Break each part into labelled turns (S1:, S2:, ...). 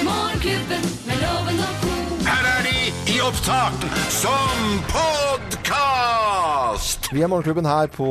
S1: Morgenklubben med loven og ko.
S2: Her er de i opptak som podkast!
S3: Vi er Morgenklubben her på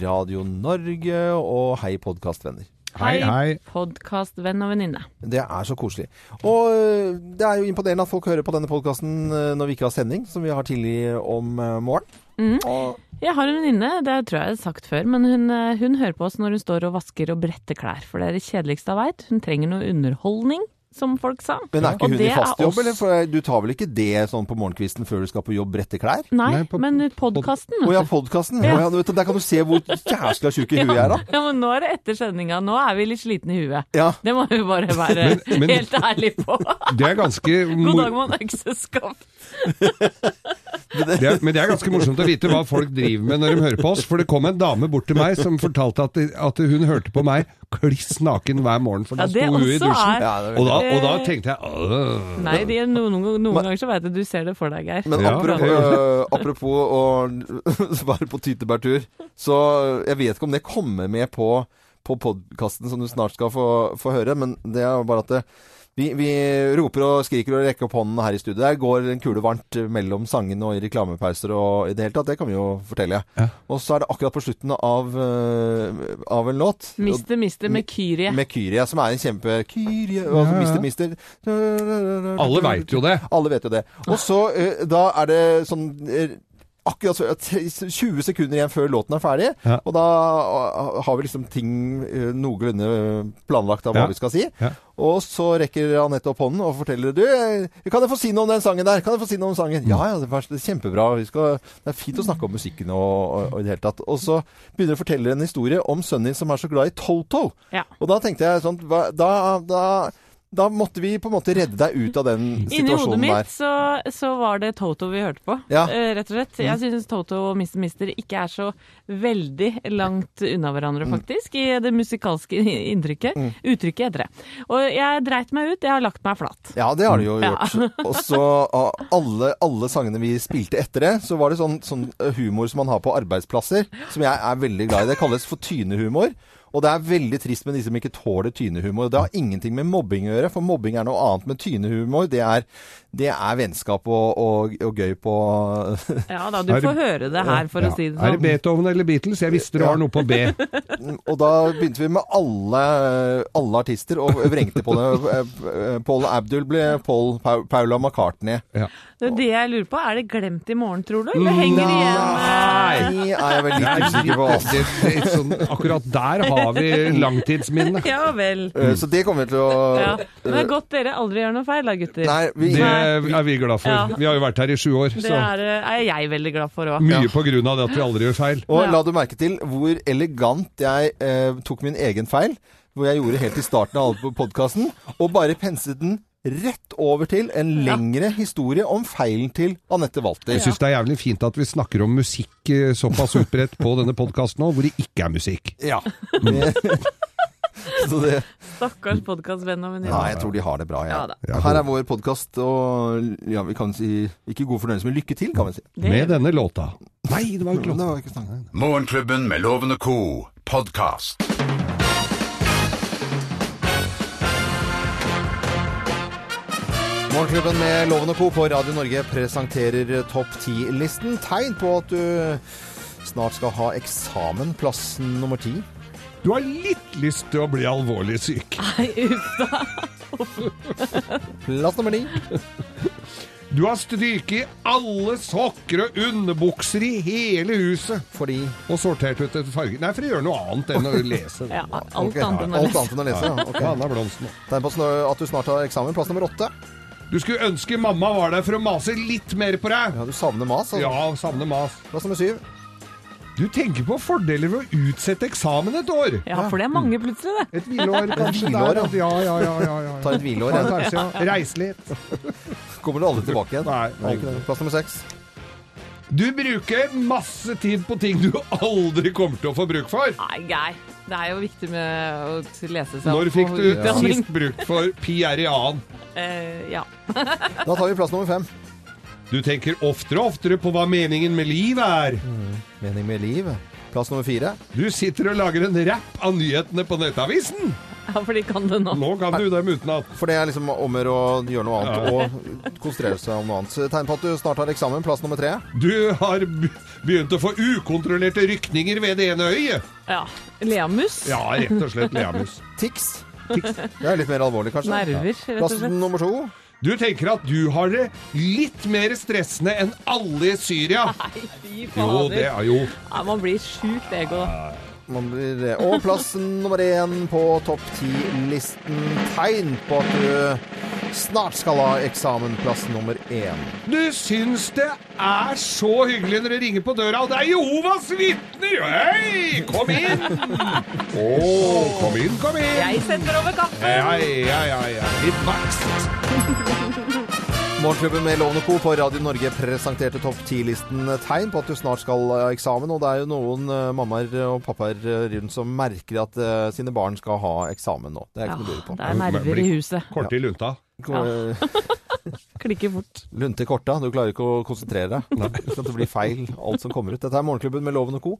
S3: Radio Norge, og hei podkastvenner.
S4: Hei, hei.
S5: podkastvenn og venninne.
S3: Det er så koselig. Og øh, det er jo imponerende at folk hører på denne podkasten når vi ikke har sending, som vi har tidlig om øh, morgenen.
S5: Jeg har en venninne, det tror jeg jeg har sagt før, men hun, eh, hun hører på oss når hun står og vasker og bretter klær, for det er det kjedeligste jeg veit. Hun trenger noe underholdning, som folk sa.
S3: Men er ikke
S5: Og
S3: hun
S5: det
S3: i
S5: er
S3: fast jobb,
S5: oss.
S3: eller? For eh, du tar vel ikke det sånn på morgenkvisten før du skal på jobb, brette klær?
S5: Nei,
S4: Nei, på-
S5: men podkasten.
S3: Å ja, podkasten.
S5: Ja.
S3: Å ja, du vet, der kan du se hvor jæskla tjukk i huet jeg er, da.
S5: Ja, men nå er det etter sendinga. Nå er vi litt slitne i huet.
S3: Ja.
S5: Det må vi bare være
S4: Men- men-
S5: helt ærlige på.
S4: Det er ganske mor-
S5: God dag, mann økseskaft.
S4: det er, men det er ganske morsomt å vite hva folk driver med når de hører på oss. For det kom en dame bort til meg som fortalte at, at hun hørte på meg kliss naken hver morgen, for
S5: Ja,
S4: da
S5: det
S4: sto hun i
S5: også
S4: dusjen.
S5: er-
S3: ja det er
S4: Og
S3: veldig-
S4: da, og da tenkte jeg «Åh».
S5: Nei, de, noen, noen ganger så veit jeg at du ser det for deg, Geir.
S3: Men
S4: Ja.
S3: apropos, øh, apropos å svare på tytebærtur, så jeg vet ikke om det kommer med på, på podkasten som du snart skal få, få høre, men det er jo bare at det, vi, vi roper og skriker og rekker opp hånden her i studio. Der går en kule varmt mellom sangene og i reklamepauser og i det hele tatt. Det kan vi jo fortelle.
S4: Ja.
S3: Og så er det akkurat på slutten av, øh, av en låt.
S5: Mister, mister med Kyrie.
S3: Med Kyrie, som er en kjempe Kyrie, altså,
S4: Ja, ja.
S3: Mister, mister
S4: Alle veit jo det.
S3: alle vet jo det. Og så eh, da er det sånn eh, Akkurat så- tre- 20 sekunder igjen før låten er ferdig,
S4: Ja.
S3: og da ah, har vi liksom ting eh, noenlunde planlagt av hva
S4: Ja.
S3: vi skal si.
S4: Ja.
S3: Og så rekker Anette opp hånden og forteller Du, eh, kan jeg få si noe om den sangen der? Kan jeg få si noe om sangen?
S4: Mm.
S3: Ja ja, det er det er kjempebra. Vi skal, det er fint å snakke om musikken og, og, og i det hele tatt. Og så begynner hun å fortelle en historie om sønnen din som er så glad i Toto.
S5: Ja.
S3: Og da tenkte jeg sånn hva- da, da, da måtte vi på en måte redde deg ut av den
S5: Inni hodet
S3: situasjonen der.
S5: mitt så, så var det Toto vi hørte på,
S3: Ja.
S5: eh, rett og slett. Jeg synes Toto og Mr. Mister ikke er så veldig langt unna hverandre, faktisk, i det musikalske inntrykket. Uttrykket heter det. Og jeg dreit meg ut, jeg har lagt meg flat.
S3: Ja, det har det jo
S5: Ja.
S3: gjort. Og så av alle, alle sangene vi spilte etter det, så var det sånn, sånn humor som man har på arbeidsplasser, som jeg er veldig glad i. Det kalles for tynehumor. Og det er veldig trist med de som ikke tåler tynehumor. Det har ingenting med mobbing å gjøre, for mobbing er noe annet. Men tynehumor, det er, det er vennskap og, og, og gøy på
S5: Ja da, du
S4: Er det-
S5: får høre det her, for
S4: Ja.
S5: å si det
S4: Er det
S5: sånn.
S4: Beethoven eller Beatles? Jeg visste det var noe på B.
S3: Og da begynte vi med alle, alle artister og vrengte på det. Paul Abdul ble Paul Pa- Paula McCartney.
S4: Ja.
S5: Det er det jeg lurer på. Er det glemt i morgen, tror du? Eller henger det igjen? eh,
S4: Nei!
S3: De er jeg veldig usikker på. altså.
S4: Det, det, er sånn, akkurat der har vi langtidsminne.
S5: Ja vel.
S4: Mm.
S3: Eh, Så det kommer vi til å Eh,
S5: Ja. Men det er godt dere aldri gjør noe feil da, gutter.
S3: Nei, vi,
S4: Det er vi glad
S5: Ja.
S4: for. Vi har jo vært her i sju år,
S5: Det
S4: så
S5: er, eh, er jeg veldig glad for òg.
S4: mye på grunn av det at vi aldri gjør feil.
S3: Og
S5: Ja.
S3: la du merke til hvor elegant jeg eh, tok min egen feil, hvor jeg gjorde helt i starten av podkasten, og bare penset den rett over til en lengre historie om feilen til Anette Walter.
S4: Jeg syns det er jævlig fint at vi snakker om musikk eh, såpass utbredt på denne podkasten nå, hvor det ikke er musikk.
S3: Ja. Så det,
S5: Stakkars podkastvenn og venninne.
S3: nei, jeg tror de har det bra.
S5: Ja da.
S3: Jeg. Her er vår podkast, og ja, vi kan si ikke god fornøyelse, men lykke til, kan vi si.
S5: Det-
S4: Med denne låta. Nei, det var jo ikke
S3: Det
S4: låta.
S3: var ikke snakk om.
S2: Morgenklubben med Loven og co. podkast.
S3: Morgenklubben med Loven og Co. på Radio Norge presenterer Topp 10-listen. Tegn på at du snart skal ha eksamen, plass nummer ti.
S4: Du har litt lyst til å bli alvorlig syk.
S5: Nei, uff da.
S3: Plass nummer ni.
S4: Du har stryket i alle sokker og underbukser i hele huset.
S3: Fordi
S4: Og sortert ut etter farge. Nei, for å gjøre noe annet enn å lese.
S5: Ja, alt
S3: ok,
S5: annet enn å
S3: alt
S5: lese.
S3: annet enn å lese. ja. Ok.
S4: Ja, Anna Blomsten.
S3: Tegn på at du snart har eksamen, plass nummer åtte.
S4: Du skulle ønske mamma var der for å mase litt mer på deg.
S3: Ja, du savner mas. Altså.
S4: Ja, sånn. savner mas.
S3: Plass nummer syv.
S4: Du tenker på fordeler ved å utsette eksamen et år.
S5: Ja, for det er
S3: Mm.
S5: mange plutselig, det.
S4: Et hvileår, kanskje.
S3: hvileår,
S4: der, at- ja, ja, ja, ja, ja, ja.
S3: Ta et hvileår. ja.
S4: Kanskje, ja. Reis litt.
S3: Kommer du aldri tilbake igjen?
S4: Nei,
S3: ikke det. Plass nummer seks.
S4: Du bruker masse tid på ting du aldri kommer til å få bruk for.
S5: Nei, Geir. Det er jo viktig med å lese seg
S4: Når
S5: opp
S4: fikk
S5: på
S4: du
S5: utdanning.
S4: sist bruk for Pierre Jan?
S5: Eh, ja.
S3: Da tar vi plass nummer fem.
S4: Du tenker oftere og oftere på hva meningen med livet er.
S3: Mening med liv. Plass nummer fire.
S4: Du sitter og lager en rapp av nyhetene på nettavisen.
S5: Ja, for de kan det nå.
S4: Nå kan du dem utenat.
S3: For det er liksom om å gjøre å gjøre noe annet og konsentrere seg om noe annet. Så Tegn på at du snart har eksamen. Plass nummer tre.
S4: Du har be- begynt å få ukontrollerte rykninger ved det ene øyet.
S5: Ja. Leamus.
S4: Ja, rett og slett leamus.
S3: Tics. Det er litt mer alvorlig, kanskje.
S5: Nerver, rett og
S3: Plass
S5: slett.
S3: nummer to.
S4: Du tenker at du har det litt mer stressende enn alle i Syria.
S5: Nei, fy
S4: Jo,
S5: fader.
S4: det er jo
S5: Ja, man blir sjukt ego. da.
S3: Man blir, og plass nummer én på topp ti-listen. Tegn på at du snart skal ha eksamen. Plass nummer én.
S4: Du syns det er så hyggelig når du ringer på døra, og det er Jehovas vitner! Hei, kom inn! Å, kom inn, kom inn!
S5: Jeg setter over kaffen!
S4: Hei, hei, hei, hei. Litt maks.
S3: Morgenklubben med Lovende Co. på Radio Norge presenterte topp ti-listen tegn på at du snart skal ha eksamen. Og det er jo noen eh, mammaer og pappaer eh, rundt som merker at eh, sine barn skal ha eksamen nå. Det er ikke noe å lure på.
S5: det er nerver i huset.
S4: Kort i lunta.
S3: Ko-
S5: Klikker fort.
S3: eh, Lunte i korta. Du klarer ikke å konsentrere deg. Sånn at det blir feil, alt som kommer ut. Dette er Morgenklubben med Loven og Co.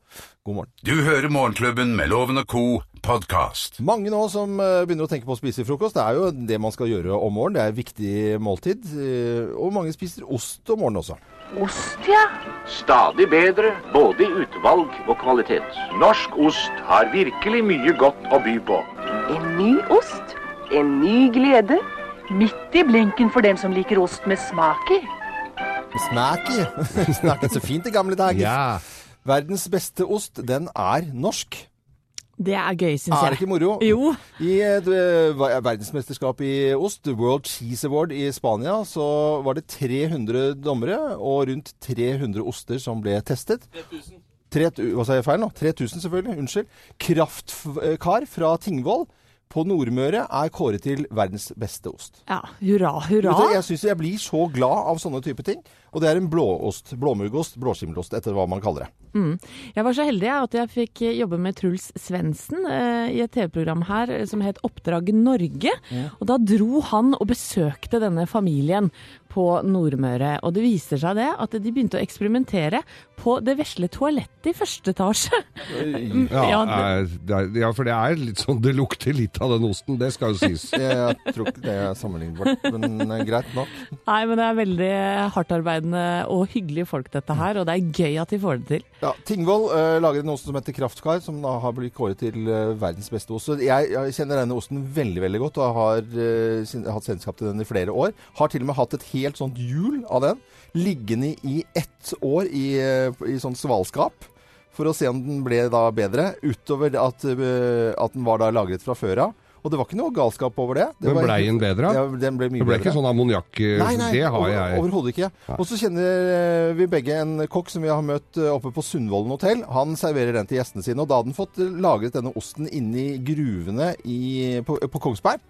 S3: God morgen.
S2: Du hører Morgenklubben med Loven og Co. podcast.
S3: Mange nå som eh, begynner å tenke på å spise frokost. Det er jo det man skal gjøre om morgenen. Det er et viktig måltid. eh, Og mange spiser ost om morgenen også.
S6: Ost, ja.
S7: Stadig bedre, både i utvalg og kvalitet. Norsk ost har virkelig mye godt å by på.
S6: En ny ost. En ny glede. Midt i blinken for dem som liker ost med smak i.
S3: Snacky. Snakket så fint i gamle dager. Verdens beste ost, den er norsk.
S5: Det er gøy, syns Altså, jeg.
S3: Ah, Er det ikke moro?
S5: Jo.
S3: I et eh, ver- verdensmesterskap i ost, The World Cheese Award i Spania, så var det 300 dommere og rundt 300 oster som ble testet. 3000. Hva sa jeg feil nå? 3000 selvfølgelig, unnskyld. Kraftkar fra Tingvoll på Nordmøre er kåret til verdens beste ost.
S5: Ja, hurra,
S3: Vet du,
S5: hurra.
S3: Jeg synes jeg blir så glad av sånne type ting. Og det er en blåost, blåmuggost, blåskimmelost, etter hva man kaller det.
S5: Jeg var så heldig jeg, at jeg fikk eh, jobbe med Truls Svendsen eh, i et TV-program her eh, som het Oppdrag Norge. Og da dro han og besøkte denne familien på Nordmøre. Og det viser seg det at de begynte å eksperimentere på det vesle toalettet i første etasje.
S4: Ja,
S5: Ja,
S4: eh, det er, ja, for det er litt sånn Det lukter litt av den osten, det skal jo sies.
S3: Jeg tror ikke det er sammenlignbart, men eh, greit nok.
S5: Nei, men det er veldig hardtarbeidende og hyggelige folk dette her, og det er gøy at de får det til.
S3: Ja, Tingvoll eh, lager en ost som heter Kraftkar, som da har blitt kåret til eh, verdens beste ost. Så Jeg, jeg kjenner denne osten veldig veldig godt og har eh, sin- hatt kjennskap til den i flere år. Har til og med hatt et helt sånt hjul av den liggende i ett år i, eh, i sånn svalskap. For å se om den ble da bedre, utover det at, eh, at den var da lagret fra før av. Og det var ikke noe galskap over det. det
S4: Men
S3: var-
S4: blei den bedre?
S3: Ja, den ble mye
S4: Det ble
S3: bedre.
S4: ikke sånn ammoniakk eh,
S3: Nei, nei,
S4: Det har
S3: over-
S4: jeg.
S3: overhodet ikke. Og så kjenner eh, vi begge en kokk som vi har møtt eh, oppe på Sundvolden hotell. Han serverer den til gjestene sine, og da hadde han fått eh, lagret denne osten inni gruvene i, på, på Kongsberg.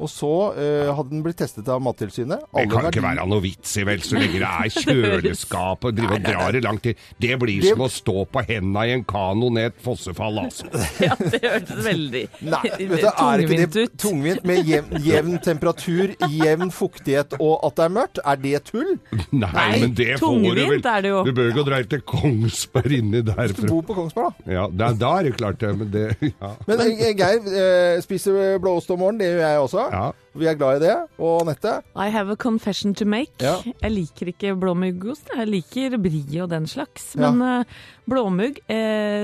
S3: Og så eh, hadde den blitt testet av Mattilsynet.
S4: Det
S3: Alle
S4: kan
S3: verdi-
S4: ikke være noe vits i vel, så lenge det er kjøleskap og drive og dra det langt til. Det blir
S3: Det-
S4: som å stå på henda i en kano ned et fossefall, altså.
S5: Ja, det hørtes veldig
S3: Nei, vet du, er ikke
S5: tungvint
S3: det
S5: ut.
S3: tungvint med jevn, jevn temperatur, jevn fuktighet og at det er mørkt? Er det tull?
S4: Nei,
S5: Nei,
S4: men det får du vel.
S5: tungvint er det jo.
S4: Du bør ikke dra helt til Kongsberg inni derfra.
S3: Bo på Kongsberg, da.
S4: Ja, da, da er det klart det, men det ja.
S3: Men eh, Geir eh, spiser blåost om morgenen, det gjør jeg også.
S4: Ja.
S3: Vi er glad i det. Og Anette?
S5: I have a confession to make.
S3: Ja.
S5: Jeg liker ikke blåmuggost. Jeg liker brie og den slags. Men eh, blåmugg, eh,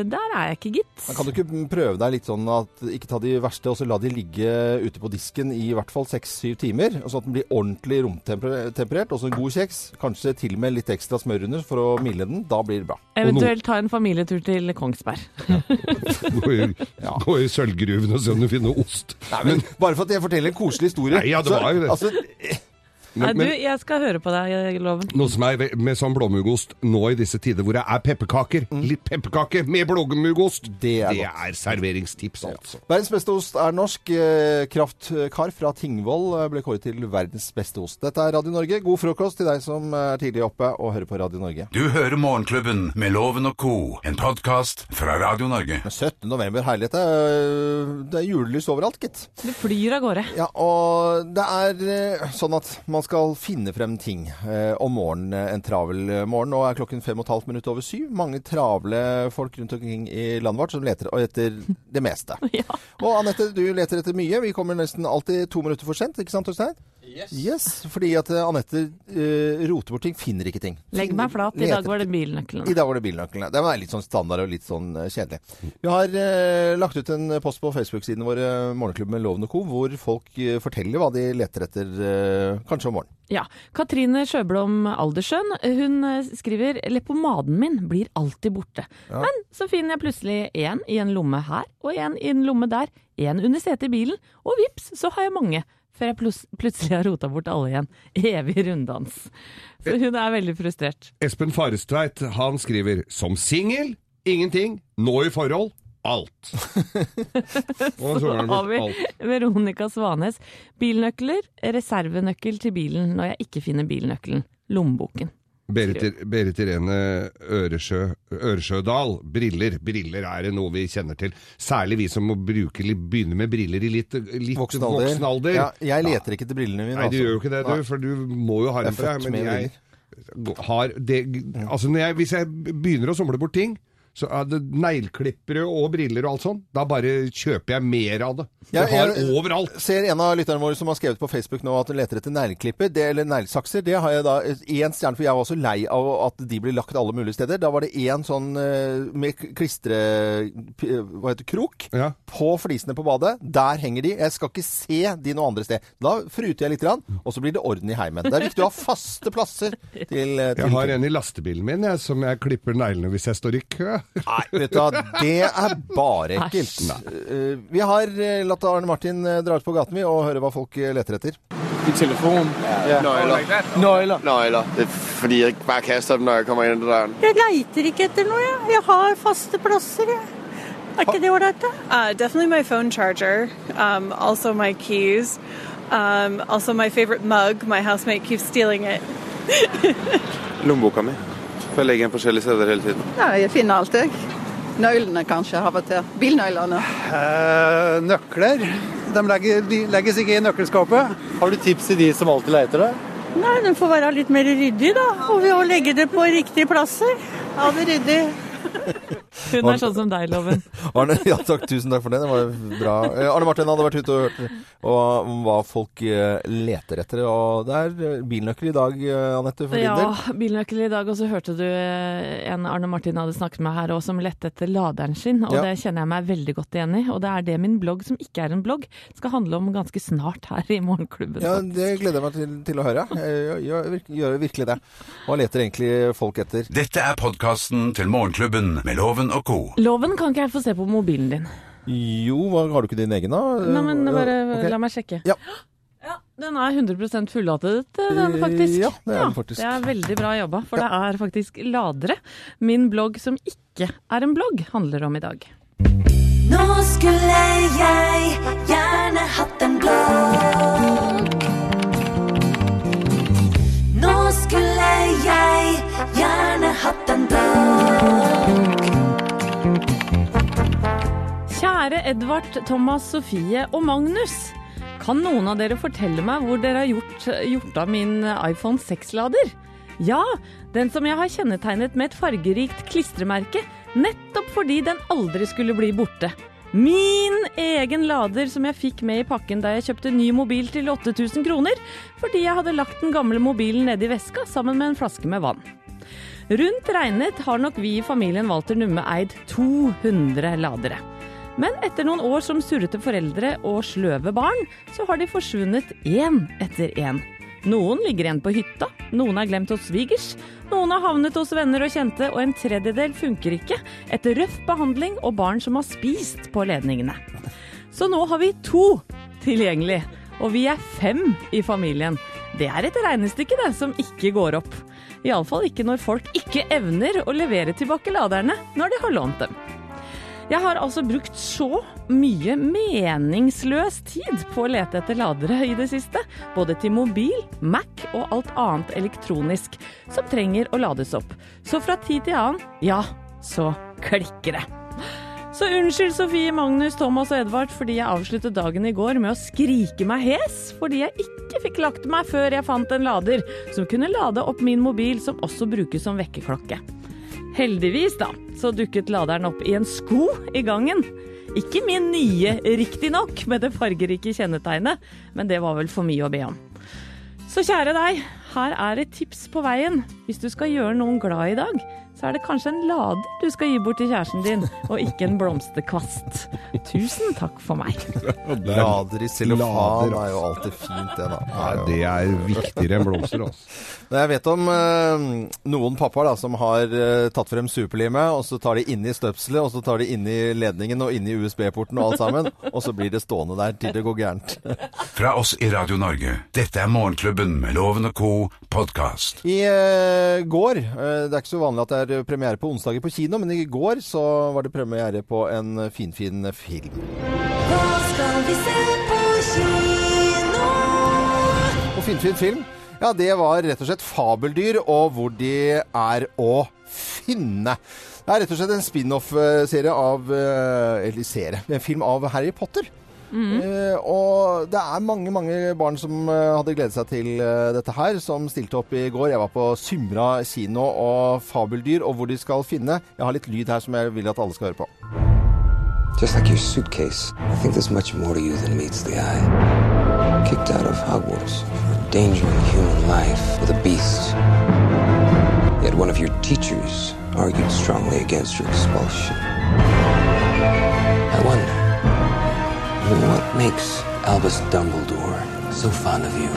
S5: der er jeg ikke, gitt.
S3: Men Kan du ikke prøve deg litt sånn at ikke ta de verste, og så la de ligge ute på disken i hvert fall 6-7 timer, og sånn at den blir ordentlig romtemperert, og så en god kjeks, kanskje til og med litt ekstra smør under for å milde den, da blir det bra.
S5: Eventuelt ta en familietur til Kongsberg.
S4: Gå i, gå i sølvgruven og se om du finner ost. Men,
S3: Bare for at jeg forteller en koselig historie.
S4: Nei, ja, det var jo det.
S3: Altså,
S5: Nei,
S4: men,
S5: du,
S4: men
S5: jeg skal høre på deg, Loven.
S4: Noe som er ve- med sånn blåmuggost nå i disse tider hvor det er pepperkaker. Litt pepperkake med blåmuggost!
S3: Mm. Det er
S4: det
S3: godt.
S4: er serveringstips, altså.
S3: verdens beste ost er norsk. Eh, Kraftkar fra Tingvoll eh, ble kåret til verdens beste ost. Dette er Radio Norge. God frokost til deg som er tidlig oppe og hører på Radio Norge.
S2: Du hører Morgenklubben med Loven og Co. En podcast fra Radio Norge.
S3: 17. november, herlighet. det er- Det er julelys overalt, gitt.
S5: Du flyr av gårde.
S3: Ja, og det er eh, sånn at man skal finne frem ting eh, om morgenen, eh, en travel eh, morgen. Nå er klokken fem og et halvt minutt over syv. Mange travle folk rundt omkring i landet vårt som leter etter det meste. Og Anette, du leter etter mye. Vi kommer nesten alltid to minutter for sent, ikke sant Øystein? Yes. Fordi at eh, Anette eh, roter bort ting, finner ikke ting.
S5: Legg meg flat. I
S3: Leter
S5: dag var det
S3: i
S5: bilnøkkelen.
S3: dag var det bilnøklene. Den er litt sånn standard og litt sånn eh, kjedelig. Vi har eh, lagt ut en post på Facebook-siden vår, eh, Morgenklubben med Loven og Co., hvor folk eh, forteller hva de leter etter eh, kanskje om morgenen.
S5: Ja. Katrine Sjøblom Aldersjøen hun eh, skriver leppepomaden min blir alltid borte. Men så finner jeg plutselig en i en lomme her og en i en lomme der. En under setet i bilen, og vips, så har jeg mange. Før jeg plus- plutselig har rota bort alle igjen. Evig runddans. Så hun er veldig frustrert.
S4: Espen Farestveit han skriver som singel ingenting, nå i forhold alt. Og så
S5: Så
S4: var det
S5: har vi
S4: alt.
S5: Veronica Svanes. Bilnøkler, reservenøkkel til bilen når jeg ikke finner bilnøkkelen. Lommeboken.
S4: Berit, Berit Irene Øresjø, Øresjødal, briller. Briller er det noe vi kjenner til. Særlig vi som må bruke, litt- begynne med briller i litt, litt voksen alder.
S3: Ja, jeg leter ikke etter brillene mine.
S4: Nei, du
S3: altså.
S4: gjør jo ikke det, du,
S3: Nei.
S4: for du må jo ha
S3: Jeg
S4: dem
S3: er
S4: for deg.
S3: født
S4: Men
S3: med
S4: jeg har det Altså, når jeg, hvis jeg begynner å somle bort ting, så er det negleklippere og briller og alt sånt, da bare kjøper jeg mer av det.
S3: Ja,
S4: Jeg har
S3: jeg-
S4: overalt.
S3: Ser en av lytterne våre som har skrevet på Facebook nå at hun leter etter negleklipper, det, eller neglesakser. Det har jeg da én stjerne, for jeg var også lei av at de ble lagt alle mulige steder. Da var det én sånn eh, med klistre... p- Hva heter det? Krok.
S4: Ja.
S3: På flisene på badet. Der henger de. Jeg skal ikke se de noe andre sted. Da fruter jeg litt, grann, og så blir det orden i heimen. Det er viktig å ha faste plasser til, eh, til
S4: Jeg har en i lastebilen min jeg, som jeg klipper neglene hvis jeg står i kø.
S3: Nei, vet du hva, det er bare ekkelt. Eh, vi har eh, latt Arne Martin eh, dra ut på gaten vi og høre hva folk eh, leter etter.
S8: Nøgler. Det er fordi jeg bare kaster dem, når jeg kommer ind ad døren.
S9: Jeg leiter ikke etter noe, jeg. Jeg har faste plasser, jeg. Er ikke det ålreit, da?
S10: Uh, definitely my phone charger, um, also my keys, um, also my favorite mug. My housemate keeps stealing it.
S8: Lommeboka mi. For jeg legger den forskjellige steder hele tiden.
S9: Ja, jeg finner alt, jeg. Nøklene kanskje av og til. Bilnøklene.
S8: Eh, nøkler. De legges ikke i nøkkelskapet. Har du tips til de som alltid leter det?
S9: Nei, den får være litt mer ryddig, da. Og ved å legge det på riktige plasser. Ha det ryddig.
S5: Hun er sånn som deg, Loven.
S3: Arne, ja takk, tusen takk for det. Det var bra. Eh, Arne Martin hadde vært ute og hørt og, om hva folk eh, leter etter. Og det er eh, bilnøkkel i dag, eh, Anette, for
S5: Ja,
S3: din del.
S5: bilnøkkel i dag, og så hørte du eh, en Arne Martin hadde snakket med her òg, som lette etter laderen sin, og
S3: Ja.
S5: det kjenner jeg meg veldig godt igjen i. Og det er det min blogg, som ikke er en blogg, skal handle om ganske snart her i Morgenklubben.
S3: Ja, det gleder jeg meg til, til å høre. Eh, Jeg gjør virk- gjør virkelig det. Hva leter egentlig folk etter?
S2: Dette er podkasten til Morgenklubben med Loven og co.
S5: Loven, kan ikke jeg få se på mobilen din?
S3: Jo, hva, har du ikke din egen, da?
S5: Nei, men
S3: Eh,
S5: bare
S3: ok.
S5: la meg sjekke.
S3: Ja.
S5: Ja, Den er 100 fulladet, eh, den faktisk.
S3: Øh, Ja, det er den faktisk.
S5: det er veldig bra jobba, for det er faktisk ladere. Min blogg som ikke er en blogg, handler om i dag.
S1: Nå skulle jeg gjerne hatt en blogg. Nå skulle jeg gjerne hatt en blogg.
S5: Kjære Edvard, Thomas, Sofie og Magnus. Kan noen av dere fortelle meg hvor dere har gjort, gjort av min iPhone 6-lader? Ja, den som jeg har kjennetegnet med et fargerikt klistremerke, nettopp fordi den aldri skulle bli borte. Min egen lader som jeg fikk med i pakken da jeg kjøpte ny mobil til 8000 kroner, fordi jeg hadde lagt den gamle mobilen nedi veska sammen med en flaske med vann. Rundt regnet har nok vi i familien Walter Numme eid 200 ladere. Men etter noen år som surrete foreldre og sløve barn, så har de forsvunnet én etter én. Noen ligger igjen på hytta, noen er glemt hos svigers, noen har havnet hos venner og kjente, og en tredjedel funker ikke etter røff behandling og barn som har spist på ledningene. Så nå har vi to tilgjengelig, og vi er fem i familien. Det er et regnestykke det, som ikke går opp. Iallfall ikke når folk ikke evner å levere tilbake laderne når de har lånt dem. Jeg har altså brukt så mye meningsløs tid på å lete etter ladere i det siste. Både til mobil, Mac og alt annet elektronisk som trenger å lades opp. Så fra tid til annen, ja, så klikker det. Så unnskyld Sofie, Magnus, Thomas og Edvard fordi jeg avsluttet dagen i går med å skrike meg hes fordi jeg ikke fikk lagt meg før jeg fant en lader som kunne lade opp min mobil, som også brukes som vekkerklokke. Heldigvis, da, så dukket laderen opp i en sko i gangen. Ikke min nye, riktignok, med det fargerike kjennetegnet, men det var vel for mye å be om. Så kjære deg, her er et tips på veien. Hvis du skal gjøre noen glad i dag, så er det kanskje en lader du skal gi bort til kjæresten din, og ikke en blomsterkvast. Tusen takk for meg.
S3: Lader i cellofan
S4: Lader,
S3: er jo alltid fint, det, da.
S4: Nei, det er viktigere enn blomster, altså.
S3: Men jeg vet om eh, noen pappaer da, som har eh, tatt frem superlimet, og så tar de inni støpselet, og så tar de inni ledningen og inni USB-porten og alt sammen, og så blir det stående der til det går gærent.
S2: Fra oss i Radio Norge. Dette er Morgenklubben med Loven og co. podkast.
S3: I eh, går, eh, det er ikke så vanlig at det er premiere på onsdager på kino, men i går så var det premiere på en finfin film.
S1: Hva skal vi se på kino?
S3: Og finfin film, ja det var rett og slett fabeldyr og hvor de er å finne. Det er rett og slett en spin-off-serie av eh, Eller serie. En film av Harry Potter. Eh, og det er mange mange barn som eh, hadde gledet seg til eh, dette her, som stilte opp i går. Jeg var på Symra kino og Fabeldyr, og hvor de skal finne Jeg har litt lyd her som jeg vil at alle skal høre på.
S11: Just like your suitcase, I think there's much more to you than meets the eye. Kicked out of Hogwarts for endangering human life with a beast. Yet one of your teachers argued strongly against your expulsion. I wonder, what makes Albus Dumbledore so fond of you?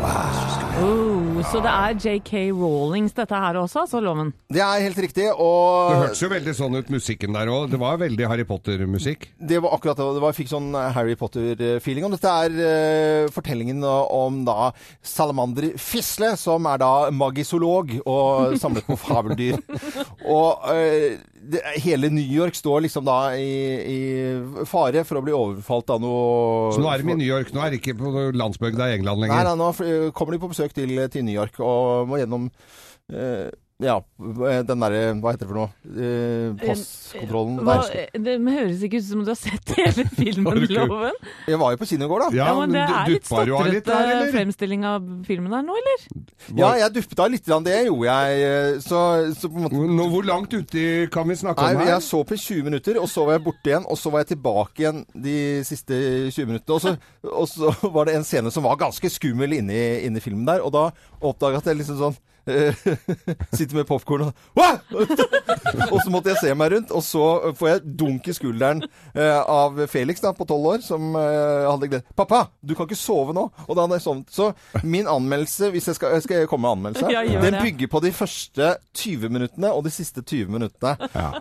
S11: Wow.
S5: Oh, så det er JK Rawlings dette her også, altså, Loven?
S3: Det er helt riktig,
S4: Det
S3: og
S4: hørtes jo veldig sånn ut, musikken der òg. Det var veldig Harry Potter-musikk.
S3: Det var akkurat det. og det var, jeg fikk sånn Harry Potter-feeling. Og dette er eh, fortellingen om da Salamander Fisle, som er da magisolog og samlet på fabeldyr. og eh, det, hele New York står liksom da i, i fare for å bli overfalt av noe
S4: Så nå er de i New York, nå er de ikke på landsbygda i England
S3: Nei,
S4: lenger.
S3: nei, nå fly- kommer de på besøk til, eh, til New York og må gjennom eh, ja, eh, den derre Hva heter det for noe? Eh, passkontrollen.
S5: Hva,
S3: Nei,
S5: det høres ikke ut som du har sett hele filmen, Loven.
S3: jeg var jo på kino i går, da.
S5: Ja, men det er litt eh, stotrete fremstilling av filmen her nå, eller?
S3: Ja, jeg duppet av litt, grann, det gjorde jeg. eh, Så, så på en måte
S4: Hvor langt uti kan vi snakke
S3: Nei,
S4: om her?
S3: jeg så på i 20 minutter, og så var jeg borte igjen, og så var jeg tilbake igjen de siste 20 minuttene. Og så, og så var det en scene som var ganske skummel inne i, inne i filmen der, og da oppdaga jeg at jeg liksom sånn eh, Sitter med popkorn og Hva?! og så måtte jeg se meg rundt, og så får jeg dunk i skulderen eh, av Felix da, på tolv år, som eh, hadde gledet 'Pappa, du kan ikke sove nå!' Og da hadde jeg sovnet. Så min anmeldelse, hvis jeg skal, skal jeg komme med anmeldelse,
S12: Ja, gjør
S3: den
S12: det.
S3: bygger på de første 20 minuttene og de siste 20 minuttene.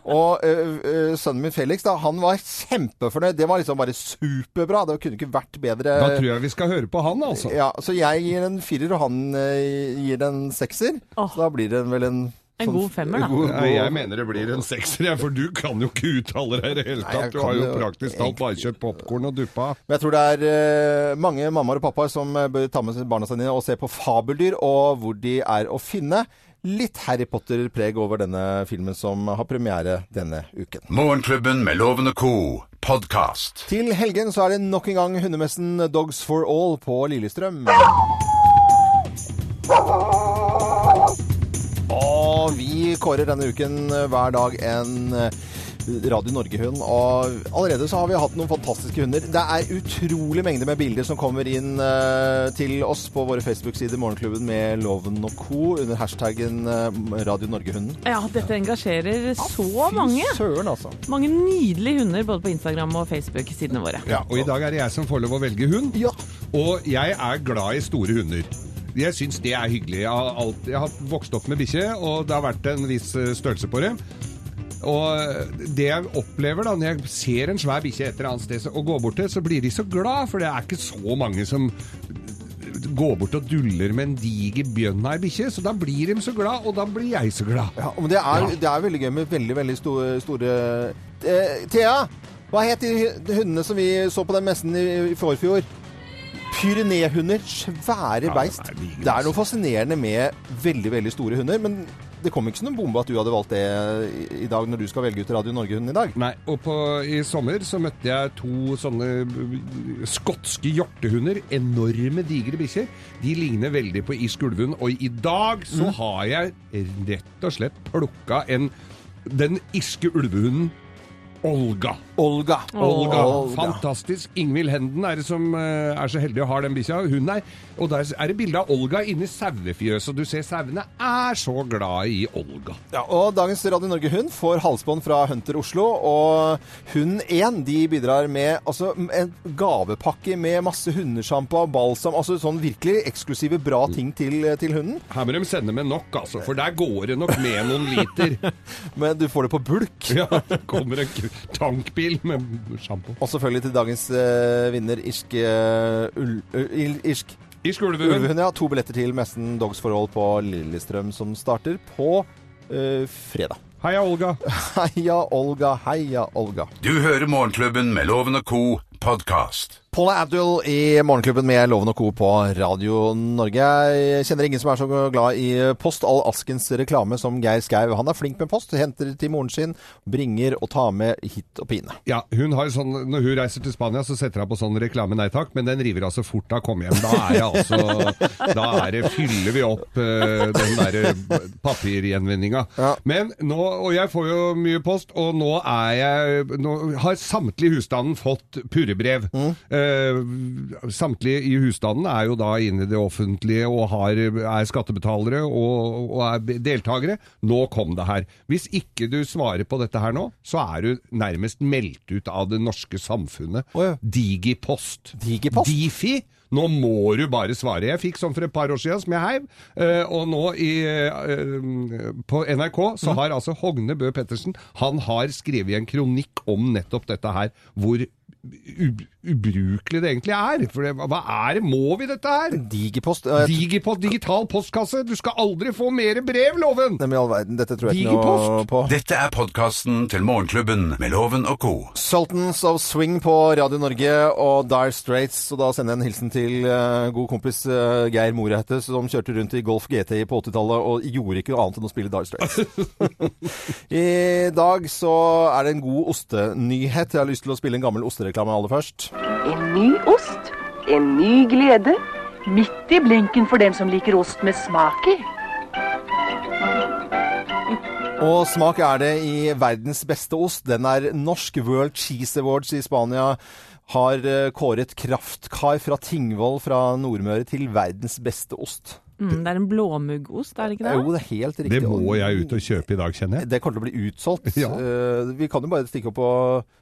S3: Og ø, ø, sønnen min Felix, da, han var kjempefornøyd. Det var liksom bare superbra. Det kunne ikke vært bedre.
S4: Da tror jeg vi skal høre på han, altså.
S3: Ja, så jeg gir en firer, og han ø, gir en sekser. Så da blir det vel en sånn
S5: En Sånn god femmer, da.
S4: Nei, jeg mener det blir en sekser, jeg, for du kan jo ikke uttale deg i det hele
S3: Nei, jeg
S4: tatt. Du
S3: kan
S4: har jo
S3: jo
S4: praktisk talt bare kjøpt popkorn og duppa.
S3: Men jeg tror det er eh, mange mammaer og pappaer som eh, bør ta med barna sine og se på fabeldyr, og hvor de er å finne. Litt Harry Potter-preg over denne filmen som har premiere denne uken.
S2: Morgenklubben med Loven og co. podkast.
S3: Til helgen så er det nok en gang hundemessen Dogs for All på Lillestrøm. Og vi kårer denne uken hver dag en eh, Radio Norge-hund, og allerede så har vi hatt noen fantastiske hunder. Det er utrolig mengde med bilder som kommer inn eh, til oss på våre Facebook-sider Morgenklubben med Loven og co. under hashtaggen eh, Radio Norge-hunden.
S5: Ja, dette engasjerer så mange.
S3: Søren, altså.
S5: Mange nydelige hunder både på Instagram og Facebook-sidene våre.
S4: Ja, og i dag er det jeg som får lov å velge hund. Og jeg er glad i store hunder. Jeg syns det er hyggelig. Jeg har, alt, jeg har vokst opp med bikkje, og det har vært en viss eh, størrelse på det. Og det jeg opplever da, når jeg ser en svær bikkje et eller annet sted så- og går bort til, så blir de så glad, for det er ikke så mange som går bort og duller med en diger bjønn av ei bikkje. Så da blir de så glad, og da blir jeg så glad.
S3: Ja, men det er, det er veldig gøy med veldig, veldig store, store eh, Thea, hva het de hu- hundene som vi så på den messen i, i forfjor? Pyreneehunder, svære beist. Det er noe fascinerende med veldig, veldig store hunder, men det kom ikke som en bombe at du hadde valgt det i- i dag når du skal velge ut Radio Norge-hunden i dag.
S4: Nei, og på, i sommer så møtte jeg to sånne eh, skotske hjortehunder. Enorme, digre bikkjer. De ligner veldig på irsk ulvehund. Og i dag så
S12: Mm.
S4: har jeg rett og slett plukka en Den irske ulvehunden Olga.
S3: Olga.
S4: Olga.
S12: Olga.
S4: Fantastisk. Ingvild Henden er det som eh, er så heldig å ha den bikkja. Hun er Og der er det bilde av Olga inni sauefjøset. Og du ser sauene er så glad i Olga.
S3: Ja, og dagens Radio Norge-hund får halsbånd fra Hunter Oslo, og hund 1 de bidrar med altså, en gavepakke med masse hundesjampo og balsam, altså sånn virkelig eksklusive bra ting til, til hunden.
S4: Her må de sende med nok, altså, for der går det nok med noen liter.
S3: Men du får det på bulk.
S4: Ja, det kommer en k- tankbil med sjampo.
S3: Og selvfølgelig til dagens eh, vinner irsk eh, ul, ø- il- Irsk
S4: Irsk ulvehund.
S3: ja. To billetter til Messen Dogs Forhold på Lillestrøm, som starter på eh, fredag.
S4: Heia Olga.
S3: Heia Olga, heia Olga.
S2: Du hører Morgenklubben med Loven og Co. podkast.
S3: Paula Abdul i Morgenklubben med Loven og Co. på Radio Norge. Jeg kjenner ingen som er så glad i post. All askens reklame som Geir Skau. Han er flink med post, henter til moren sin, bringer og tar med hit og pine.
S4: Ja, hun har sånn, Når hun reiser til Spania, så setter hun på sånn reklame nei takk, men den river altså fort av kom hjem. Da er jeg altså Da er det, fyller vi opp eh, den derre papirgjenvinninga. Men nå Og jeg får jo mye post, og nå er jeg Nå har samtlige husstanden fått purrebrev. Eh, samtlige i husstanden er jo da inne i det offentlige og har, er skattebetalere og, og er deltakere. Nå kom det her. Hvis ikke du svarer på dette her nå, så er du nærmest meldt ut av det norske samfunnet. Digipost.
S3: Digipost?
S4: Difi. Nå må du bare svare. Jeg fikk sånn for et par år siden som jeg heiv, eh, og nå i, eh, på NRK så
S3: Mhm.
S4: har altså Hogne Bø Pettersen han har skrevet en kronikk om nettopp dette her, hvor u- ubrukelig det egentlig er. For det, hva er det? Må vi dette her?
S3: Digipost.
S4: Digipost, digital postkasse. Du skal aldri få mer brev, Loven!
S3: Nei, men i all verden, dette tror jeg ikke noe
S2: Digipost. Dette er podkasten til Morgenklubben med Loven og Co.
S3: Sultans of Swing på Radio Norge og Dire Straits. Og da sender jeg en hilsen til eh, god kompis eh, Geir Moreite, som kjørte rundt i Golf GT på 80-tallet og gjorde ikke noe annet enn å spille Dire Straits. I dag så er det en god ostenyhet. Jeg har lyst til å spille en gammel ostereklame aller først.
S6: En ny ost, en ny glede. Midt i blinken for dem som liker ost med smak i.
S3: Og smak er det i verdens beste ost. Den er norsk World Cheese Awards i Spania. Har eh, kåret Kraftkar fra Tingvoll fra Nordmøre til verdens beste ost.
S5: Mm, det er en blåmuggost, er det ikke det?
S3: Jo, det er helt riktig.
S4: Det må jeg ut og kjøpe i dag, kjenner jeg.
S3: Det kommer til å bli utsolgt.
S4: Ja.
S3: Eh, Vi kan jo bare stikke opp på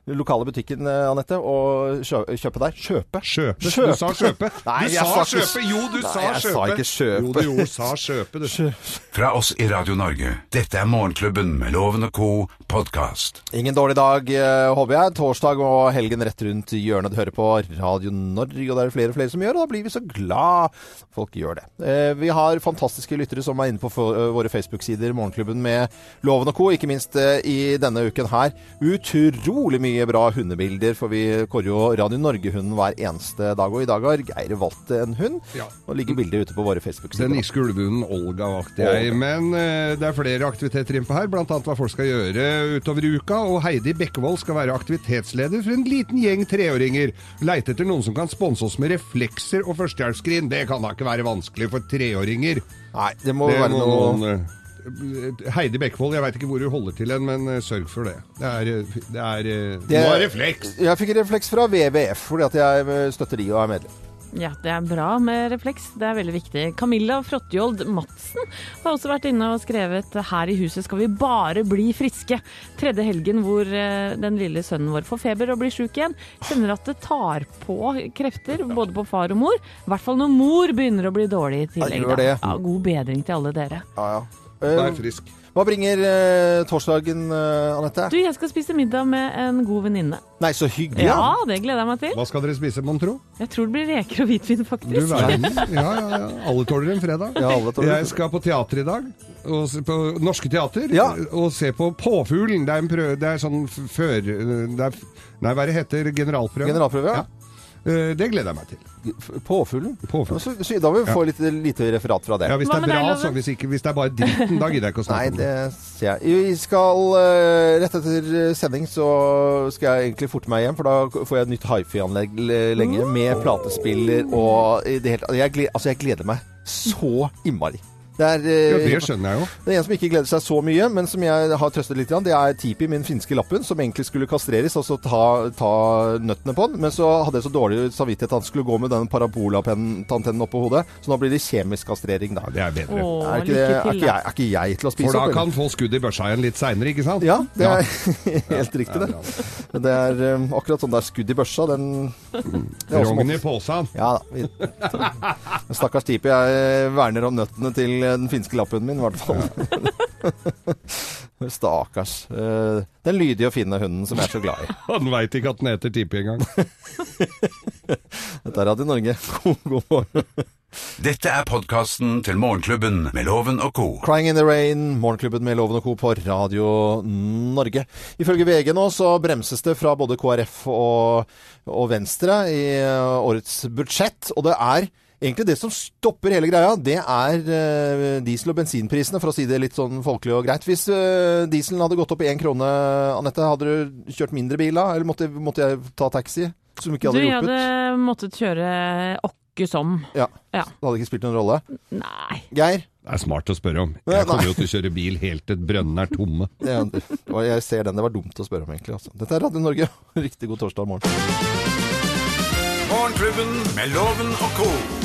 S3: den lokale butikken, eh, Anette, og kjø- kjøpe der. Kjøpe.
S4: Kjøpe.
S3: Kjøpe.
S4: Du sa kjøpe.
S3: Nei,
S4: du
S3: jeg
S4: sa
S3: sa ikke-
S4: kjøpe! Jo, du
S3: Nei,
S4: sa
S3: jeg sa
S4: kjøpe!
S3: ikke kjøpe.
S4: Jo, du jo, sa kjøpe, du.
S2: Fra oss i Radio Norge, dette er Morgenklubben med Loven og Co. podkast.
S3: Ingen dårlig dag, eh, håper jeg. Torsdag og helgen rett rundt i hjørnet. Du hører på Radio Norge, og det er det flere og flere som gjør, og da blir vi så glad folk gjør det. Eh, Vi har fantastiske lyttere som er inne på for- eh, våre Facebook-sider, Morgenklubben med Loven og Co., ikke minst eh, i denne uken her. Utrolig mye bra hundebilder, for vi kårer jo Radio Norge-hunden hver eneste dag, og i dag har Geir valgt en hund.
S4: Ja.
S3: Og ligger bildet ute på våre Facebook-sider.
S4: Den irske ulvehunden Olga valgte jeg. Men eh, det er flere aktiviteter innpå her, bl.a. hva folk skal gjøre utover uka. Og Heidi Bekkevold skal være aktivitetsleder for en liten gjeng treåringer. Leite etter noen som kan sponse oss med reflekser og førstehjelpsskrin. Det kan da ikke være vanskelig for treåringer.
S3: Nei, det må være noe-
S4: noen, eh, Heidi Bekkevold, jeg veit ikke hvor hun holder til hen, men eh, sørg for det. Det er, eh, det er, eh,
S3: Det-
S4: Nå er refleks!
S3: Jeg fikk refleks fra WWF, fordi at jeg eh, støtter de og er medlem.
S5: Ja, det er bra med refleks. Det er veldig viktig. Camilla Frottjold Madsen har også vært inne og skrevet her i huset skal vi bare bli friske. Tredje helgen hvor eh, den lille sønnen vår får feber og blir sjuk igjen. Kjenner at det tar på krefter, både på far og mor. I hvert fall når mor begynner å bli dårlig i tillegg.
S3: gjør
S5: da.
S3: det.
S5: Ja, god bedring til alle dere.
S3: Ja, ja.
S4: Vær
S3: Eh,
S4: frisk.
S3: Hva bringer eh, torsdagen, eh, Anette?
S5: Du, jeg skal spise middag med en god venninne.
S3: Nei, så hyggelig.
S5: Ja, det gleder jeg meg til.
S4: Hva skal dere spise, mon tro?
S5: Jeg tror det blir reker og hvitvin, faktisk.
S4: Du verden. Ja, ja, ja. Alle tåler en fredag.
S3: Ja, alle tåler en
S4: Jeg skal på teater i dag. Og se på Norske Teater. Og se på Påfuglen. Det er, en prøve, det er sånn f- før... Det er, f- nei, hva er det heter? Generalprøve?
S3: Generalprøve, ja.
S4: Eh, Det gleder jeg meg til.
S3: Påfuglen? Så, så da vil vi få litt lite referat fra det.
S4: Ja, hvis det er bra, så. Hvis, ikke, hvis det er bare dritten, da gidder jeg ikke å snakke
S3: Nei, det ser jeg. Vi skal eh, Rett etter sending så skal jeg egentlig forte meg hjem, for da får jeg et nytt hifi-anlegg l-
S5: Mm.
S3: lenge med platespiller og i det hele tatt. Jeg gled- Altså, jeg gleder meg så innmari. Det er,
S4: Ja,
S3: eh,
S4: det skjønner jeg jo.
S3: det er en som ikke gleder seg så mye, men som jeg har trøstet litt. grann. Det er Tipi, min finske lappen, som egentlig skulle kastreres, og så ta, ta nøttene på den. Men så hadde jeg så dårlig samvittighet at han skulle gå med den parabolatantennen oppå hodet, så nå blir det kjemisk kastrering, da.
S4: Det er bedre. Åh,
S3: er, ikke det,
S4: lykke
S3: er,
S4: til,
S3: ikke
S4: da.
S3: jeg, er ikke jeg til å spise
S4: For da
S3: opp? eller?
S4: kan få skudd i børsa igjen litt seinere, ikke sant?
S3: Ja, det
S4: Ja.
S3: er helt riktig, det. Det er um, akkurat sånn det er skudd i børsa. Den det er også
S4: Rogn i
S3: måten-
S4: posen.
S3: Ja da. vi- Stakkars type. Jeg eh, verner om nøttene til eh, den finske lappen min, i hvert fall. Stakkars. Eh, Den lydige og fine hunden som jeg er så glad i.
S4: Han veit ikke at den heter Tippi engang.
S3: Dette er Radio Norge. God god morgen.
S2: Dette er podkasten til Morgenklubben med Loven og co.
S3: Crying in the Rain, Morgenklubben med Loven og Co. på Radio Norge. Ifølge VG nå så bremses det fra både KrF og, og Venstre i eh, årets budsjett, og det er Egentlig det som stopper hele greia, det er eh, diesel- og bensinprisene, for å si det litt sånn folkelig og greit. Hvis eh, dieselen hadde gått opp i én krone, Anette, hadde du kjørt mindre bil da? Eller måtte, måtte jeg ta taxi? Som ikke
S5: Du,
S3: hadde
S5: jeg
S3: hjulpet?
S5: hadde måttet kjøre åkke som.
S3: Ja.
S5: Ja.
S3: Det hadde ikke spilt noen rolle?
S5: Nei.
S3: Geir?
S4: Det er smart å spørre om. Jeg kommer jo til å kjøre bil helt til brønnene er tomme.
S3: Ja, det- og jeg ser den. Det var dumt å spørre om, egentlig. Altså. Dette er Radio Norge. Riktig god torsdag morgen.
S2: Morgenklubben med Loven og co.